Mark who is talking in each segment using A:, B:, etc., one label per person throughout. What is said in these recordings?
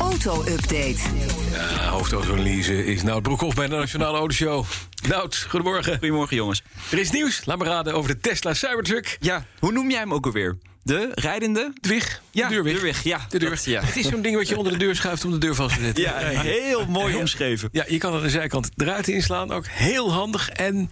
A: Auto-update.
B: Ja, hoofdauto leasen is Nout Broekhoff bij de Nationale Autoshow. Nout, goedemorgen.
C: Goedemorgen jongens.
B: Er is nieuws, laat me raden, over de Tesla Cybertruck.
C: Ja, hoe noem jij hem ook alweer? De rijdende?
B: De weg,
C: Ja,
B: de deurweg.
C: deurweg, ja.
B: De deur.
C: Dat, ja.
B: Het is zo'n ding wat je onder de deur schuift om de deur vast te zetten.
C: Ja, heel mooi omschreven.
B: Ja, je kan aan de zijkant de ruiten inslaan, ook heel handig. En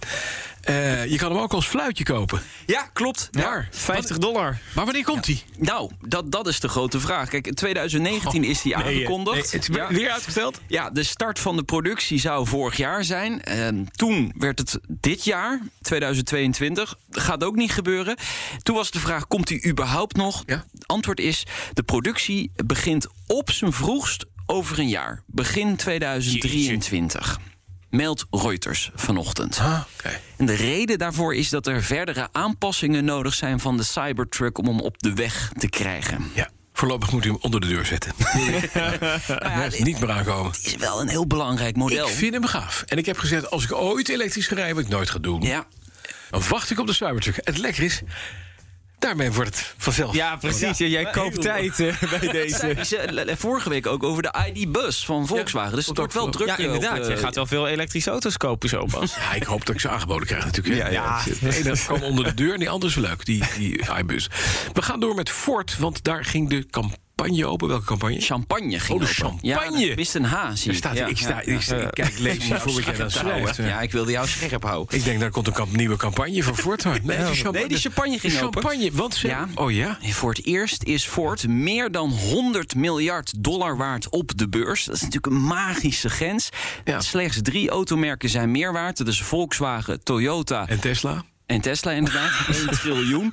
B: eh, je kan hem ook als fluitje kopen.
C: Ja, klopt. Ja.
B: Maar,
D: 50 dollar.
B: maar wanneer komt die?
C: Nou, dat, dat is de grote vraag. Kijk, in 2019 is die
B: Oh.
C: aangekondigd. ja.
D: Weer uitgesteld?
C: Ja, de start van de productie zou vorig jaar zijn. Ehm, toen werd het dit jaar, 2022. Gaat ook niet gebeuren. Toen was de vraag, komt die überhaupt nog?
B: Ja.
C: Antwoord is, de productie begint op zijn vroegst over een jaar. Begin 2023. Meldt Reuters vanochtend.
B: Ah, oké.
C: En de reden daarvoor is dat er verdere aanpassingen nodig zijn van de Cybertruck om hem op de weg te krijgen.
B: Ja, voorlopig moet u hem onder de deur zetten.
C: Maar
B: Nergens niet meer aankomen.
C: Het is wel een heel belangrijk model.
B: Ik vind hem gaaf. En ik heb gezegd, als ik ooit elektrisch ga rijden, wat ik nooit ga doen...
C: Ja,
B: dan wacht ik op de Cybertruck. Het lekker is, daarmee wordt het vanzelf.
D: Ja, precies. Ja, jij koopt tijd eh, bij deze.
C: zeiden ze le- le- vorige week ook over de ID-bus van Volkswagen. dus het
B: klopt
C: wordt wel
B: ook.
C: druk.
D: Ja,
C: eh, op,
D: inderdaad.
C: eh,
D: Je gaat wel veel elektrische auto's kopen zo, Bas.
B: Ja, ik hoop dat ik ze aangeboden krijg natuurlijk. hè.
D: ja.
B: De ene kwam onder de deur en die andere is wel leuk, die, die iBus. We gaan door met Ford, want daar ging de campagne open. Welke campagne?
C: Champagne ging
B: Oh, de
C: open.
B: champagne.
C: Ja, dat wist een H, zie
B: Er
C: ik.
B: staat,
C: ja,
B: ik, sta,
C: ja.
B: ik, sta- ik kijk, lees niet voor wat jij dan schrijft.
C: Ja, ik wilde jou scherp houden.
B: Ik denk, daar komt een kamp- nieuwe campagne van Ford. Maar nee, die champagne,
C: Nee, die champagne ging open.
B: champagne, want ze...
C: Ja.
B: Oh ja?
C: En Voor het eerst is Ford meer dan 100 miljard dollar waard op de beurs. Dat is natuurlijk een magische grens.
B: Ja.
C: Slechts drie automerken zijn meer waard. Dus Volkswagen, Toyota
B: En Tesla?
C: En Tesla inderdaad, 1 triljoen.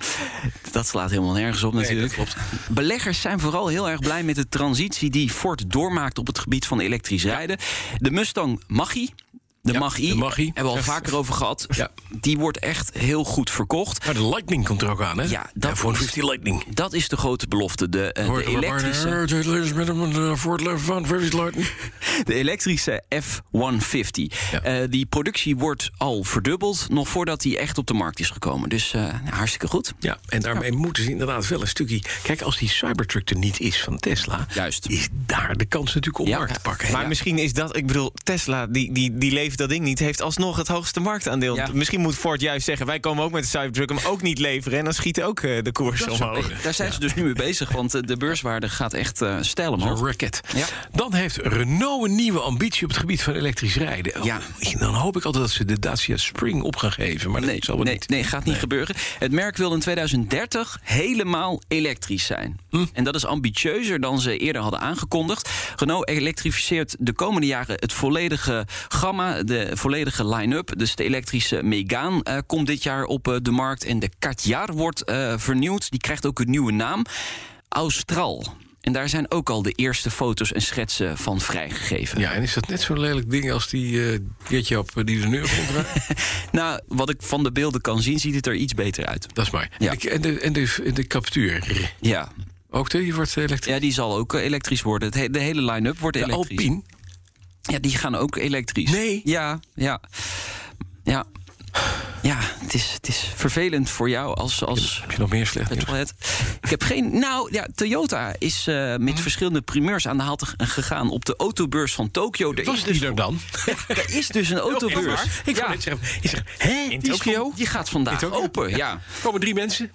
C: Dat slaat helemaal nergens op natuurlijk. Beleggers zijn vooral heel erg blij met de transitie die Ford doormaakt op het gebied van elektrisch rijden. De Mustang Mach-E. De Mach-E.
B: de Mach-E.
C: Hebben we al
B: Echt.
C: vaker over gehad.
B: Ja.
C: Die wordt echt heel goed verkocht.
B: Maar de Lightning komt er ook aan, hè?
C: Ja, dat
B: ja, voor
C: is-
B: 50 Lightning.
C: Dat is de grote belofte. De, eh, de, elektrische, eh, de elektrische F-150.
B: Ja.
C: Eh, die productie wordt al verdubbeld. Nog voordat die echt op de markt is gekomen. Dus eh, nou, hartstikke goed.
B: Ja, en daarmee moeten ze inderdaad wel een stukje... Kijk, als die Cybertruck er niet is van Tesla...
C: Juist.
B: is daar de kans natuurlijk om
C: Ja.
B: markt te pakken. hè?
D: Maar misschien is dat, ik bedoel, Tesla, die, die, die levert dat ding niet, heeft alsnog het hoogste marktaandeel.
C: Ja.
D: Misschien moet Ford juist zeggen: wij komen ook met de Cybertruck hem ook niet leveren. En dan schiet ook eh, de koers
B: Dat zou
D: omhoog.
B: kunnen.
C: Daar zijn ze dus nu mee bezig, want eh, de beurswaarde gaat echt eh stijl
B: Een
C: omhoog.
B: racket.
C: Ja.
B: Dan heeft Renault een nieuwe ambitie op het gebied van elektrisch rijden. Oh,
C: Ja.
B: Dan hoop ik altijd dat ze de Dacia Spring op gaan geven. Maar
C: Nee,
B: dat zal wel
C: nee,
B: niet.
C: nee, gaat niet gebeuren. Het merk wil in 2030 helemaal elektrisch zijn.
B: Hm.
C: En dat is ambitieuzer dan ze eerder hadden aangekondigd. Renault elektrificeert de komende jaren het volledige gamma, de volledige line-up. Dus de elektrische Megane eh, komt dit jaar op eh, de markt. En de Katjar wordt eh, vernieuwd. Die krijgt ook een nieuwe naam. Austral. En daar zijn ook al de eerste foto's en schetsen van vrijgegeven.
B: Ja, en is dat net zo'n lelijk ding als die eh Getjap eh, die er nu op ronddraait?
C: Nou, wat ik van de beelden kan zien, ziet het er iets beter uit.
B: dat is maar.
C: Ja.
B: En de- En, de, en, de, en de Captur.
C: Ja,
B: Ook die wordt elektrisch.
C: ja die zal ook eh, elektrisch worden. Het he- de hele line-up wordt
B: de
C: elektrisch.
B: Alpine.
C: Ja, die gaan ook elektrisch.
B: Nee.
C: Ja, ja. Ja, ja het, is, het is vervelend voor jou als... als
B: Heb je nog meer slecht nieuws?
C: petrolhead. Ik heb geen. Nou, ja, Toyota is eh, met
B: Hm?
C: verschillende primeurs aan de haal te- gegaan op de autobeurs van Tokio. Er, is
B: Was
C: dus,
B: die er dan?
C: er is dus een autobeurs.
B: Ik
C: ja,
B: ja. net zeggen, ik zeg, hè?
D: In
C: die, is
D: Tokio?
C: van- die gaat vandaag
B: Tokio?
C: open. ja.
B: Komen drie mensen?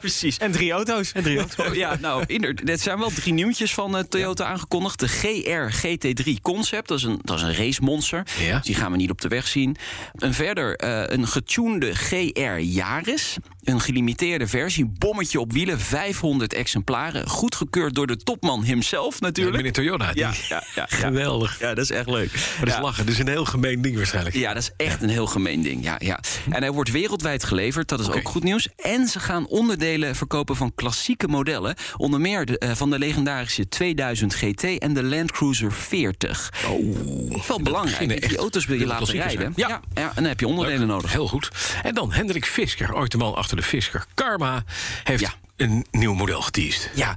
D: Precies. En drie auto's. En drie auto's.
C: Oh, ja, nou, inderdaad. Er zijn wel drie nieuwtjes van eh, Toyota aangekondigd. De GR GT3 Concept, dat is een, dat is een racemonster.
B: Ja.
C: Dus die gaan we niet op de weg zien. En verder eh, een getunede GR Yaris. een gelimiteerde versie. Bommetje op wielen, 500 exemplaren. Goedgekeurd door de topman himself natuurlijk.
B: Meneer Toyota. die-
C: Ja, ja, ja, ja.
B: Geweldig.
C: Ja, dat is echt leuk.
B: Maar dat is
C: Ja.
B: lachen. Dat is een heel gemeen ding waarschijnlijk.
C: Ja, dat is echt een heel gemeen ding. Ja, ja. En hij wordt wereldwijd geleverd, dat is ook
B: Oké.
C: goed nieuws. En ze gaan onderdelen verkopen van klassieke modellen. Onder meer de, eh, van de legendarische 2000 GT en de Land Cruiser 40. Oh, Wel belangrijk,
B: beginnen
C: want die
B: echt
C: auto's wil je
B: heel
C: laten
B: klassiek te
C: rijden.
B: zijn.
C: ja.
B: Ja.
C: ja, en dan heb je onderdelen
B: Leuk.
C: nodig.
B: Heel goed. En dan Hendrik Fisker, ooit de man achter de Fisker Karma, heeft
C: Ja.
B: een nieuw model geteased.
C: Ja,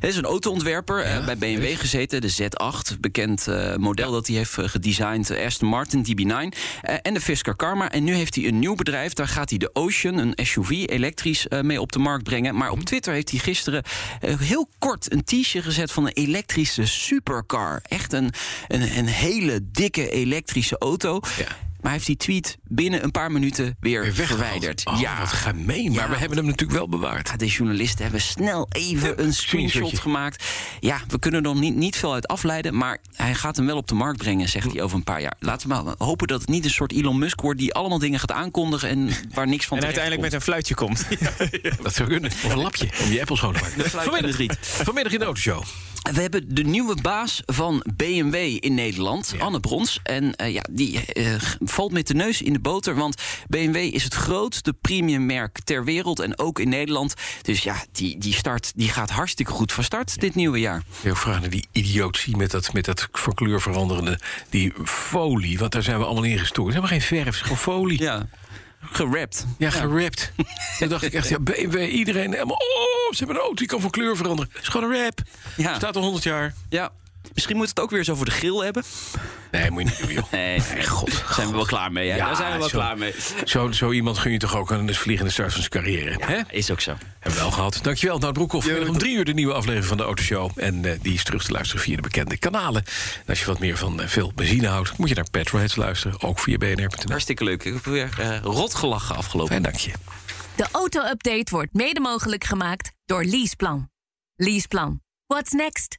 C: hij is een autoontwerper, eh, bij BMW gezeten, de Z8. Bekend eh, model dat hij heeft eh, gedesigned, eh, Aston Martin DB9 eh, en de Fisker Karma. En nu heeft hij een nieuw bedrijf, daar gaat hij de Ocean, een SUV, elektrisch eh, mee op de markt brengen. Maar
B: Mhm.
C: op Twitter heeft hij gisteren eh, heel kort een t-shirt gezet van een elektrische supercar. Echt een, een, een hele dikke elektrische auto.
B: Ja.
C: Maar hij heeft die tweet binnen een paar minuten
B: Weer
C: weer,
B: weggehaald.
C: verwijderd.
B: Oh, wat gemeen. Maar
C: Ja,
B: we hebben hem natuurlijk wel bewaard.
C: ja, de journalisten hebben snel even een screenshot
B: screenshotje.
C: gemaakt. Ja, we kunnen er niet, niet veel uit afleiden. Maar hij gaat hem wel op de markt brengen, zegt hij over een paar jaar. Laten we maar hopen dat het niet een soort Elon Musk wordt die allemaal dingen gaat aankondigen en waar niks van
D: En
C: terecht
D: uiteindelijk met
C: komt.
D: een fluitje komt.
B: Dat zou kunnen. Of een lapje om je Apple schoon te maken.
C: fluit in het riet.
B: vanmiddag in de autoshow.
C: We hebben de nieuwe baas van BMW in Nederland, Anne Brons. En eh, ja, die eh, g- valt met de neus in de boter. Want BMW is het grootste premiummerk ter wereld en ook in Nederland. Dus ja, die, die start die gaat hartstikke goed van start dit nieuwe jaar.
B: Heel vraag naar die idiotie met dat, met dat van kleur veranderende. Die folie, want daar zijn we allemaal in gestoord. Ze hebben geen verf, het is gewoon folie. Ja,
C: Ja, gerapt.
B: gerapt. Toen dacht ik echt, ja, BMW, iedereen helemaal... Oh, ze hebben een auto die kan van kleur veranderen. Het is gewoon een rap.
C: Ja.
B: Staat al 100 jaar.
C: Ja. Misschien moet het ook weer zo voor de grill hebben.
B: Nee, moet je niet doen, joh.
C: Nee, god. Zijn we wel klaar mee, hè?
B: Ja,
C: Daar zijn we wel
B: zo.
C: klaar mee.
B: Zo, zo iemand gun je toch ook een vliegende start van zijn carrière. hè? Hebben
C: Is ook zo.
B: we wel gehad. Dankjewel, Nout Broekhoff. Vanmiddag om drie uur de nieuwe aflevering van de Autoshow. En eh, die is terug te luisteren via de bekende kanalen. En als je wat meer van eh, veel benzine houdt... moet je naar Petrolheads luisteren, ook via bnr.nl.
C: Hartstikke leuk. Ik heb weer eh, rot gelachen afgelopen.
B: Fijn, dank je.
E: De auto-update wordt mede mogelijk gemaakt door Leaseplan. Leaseplan. What's next?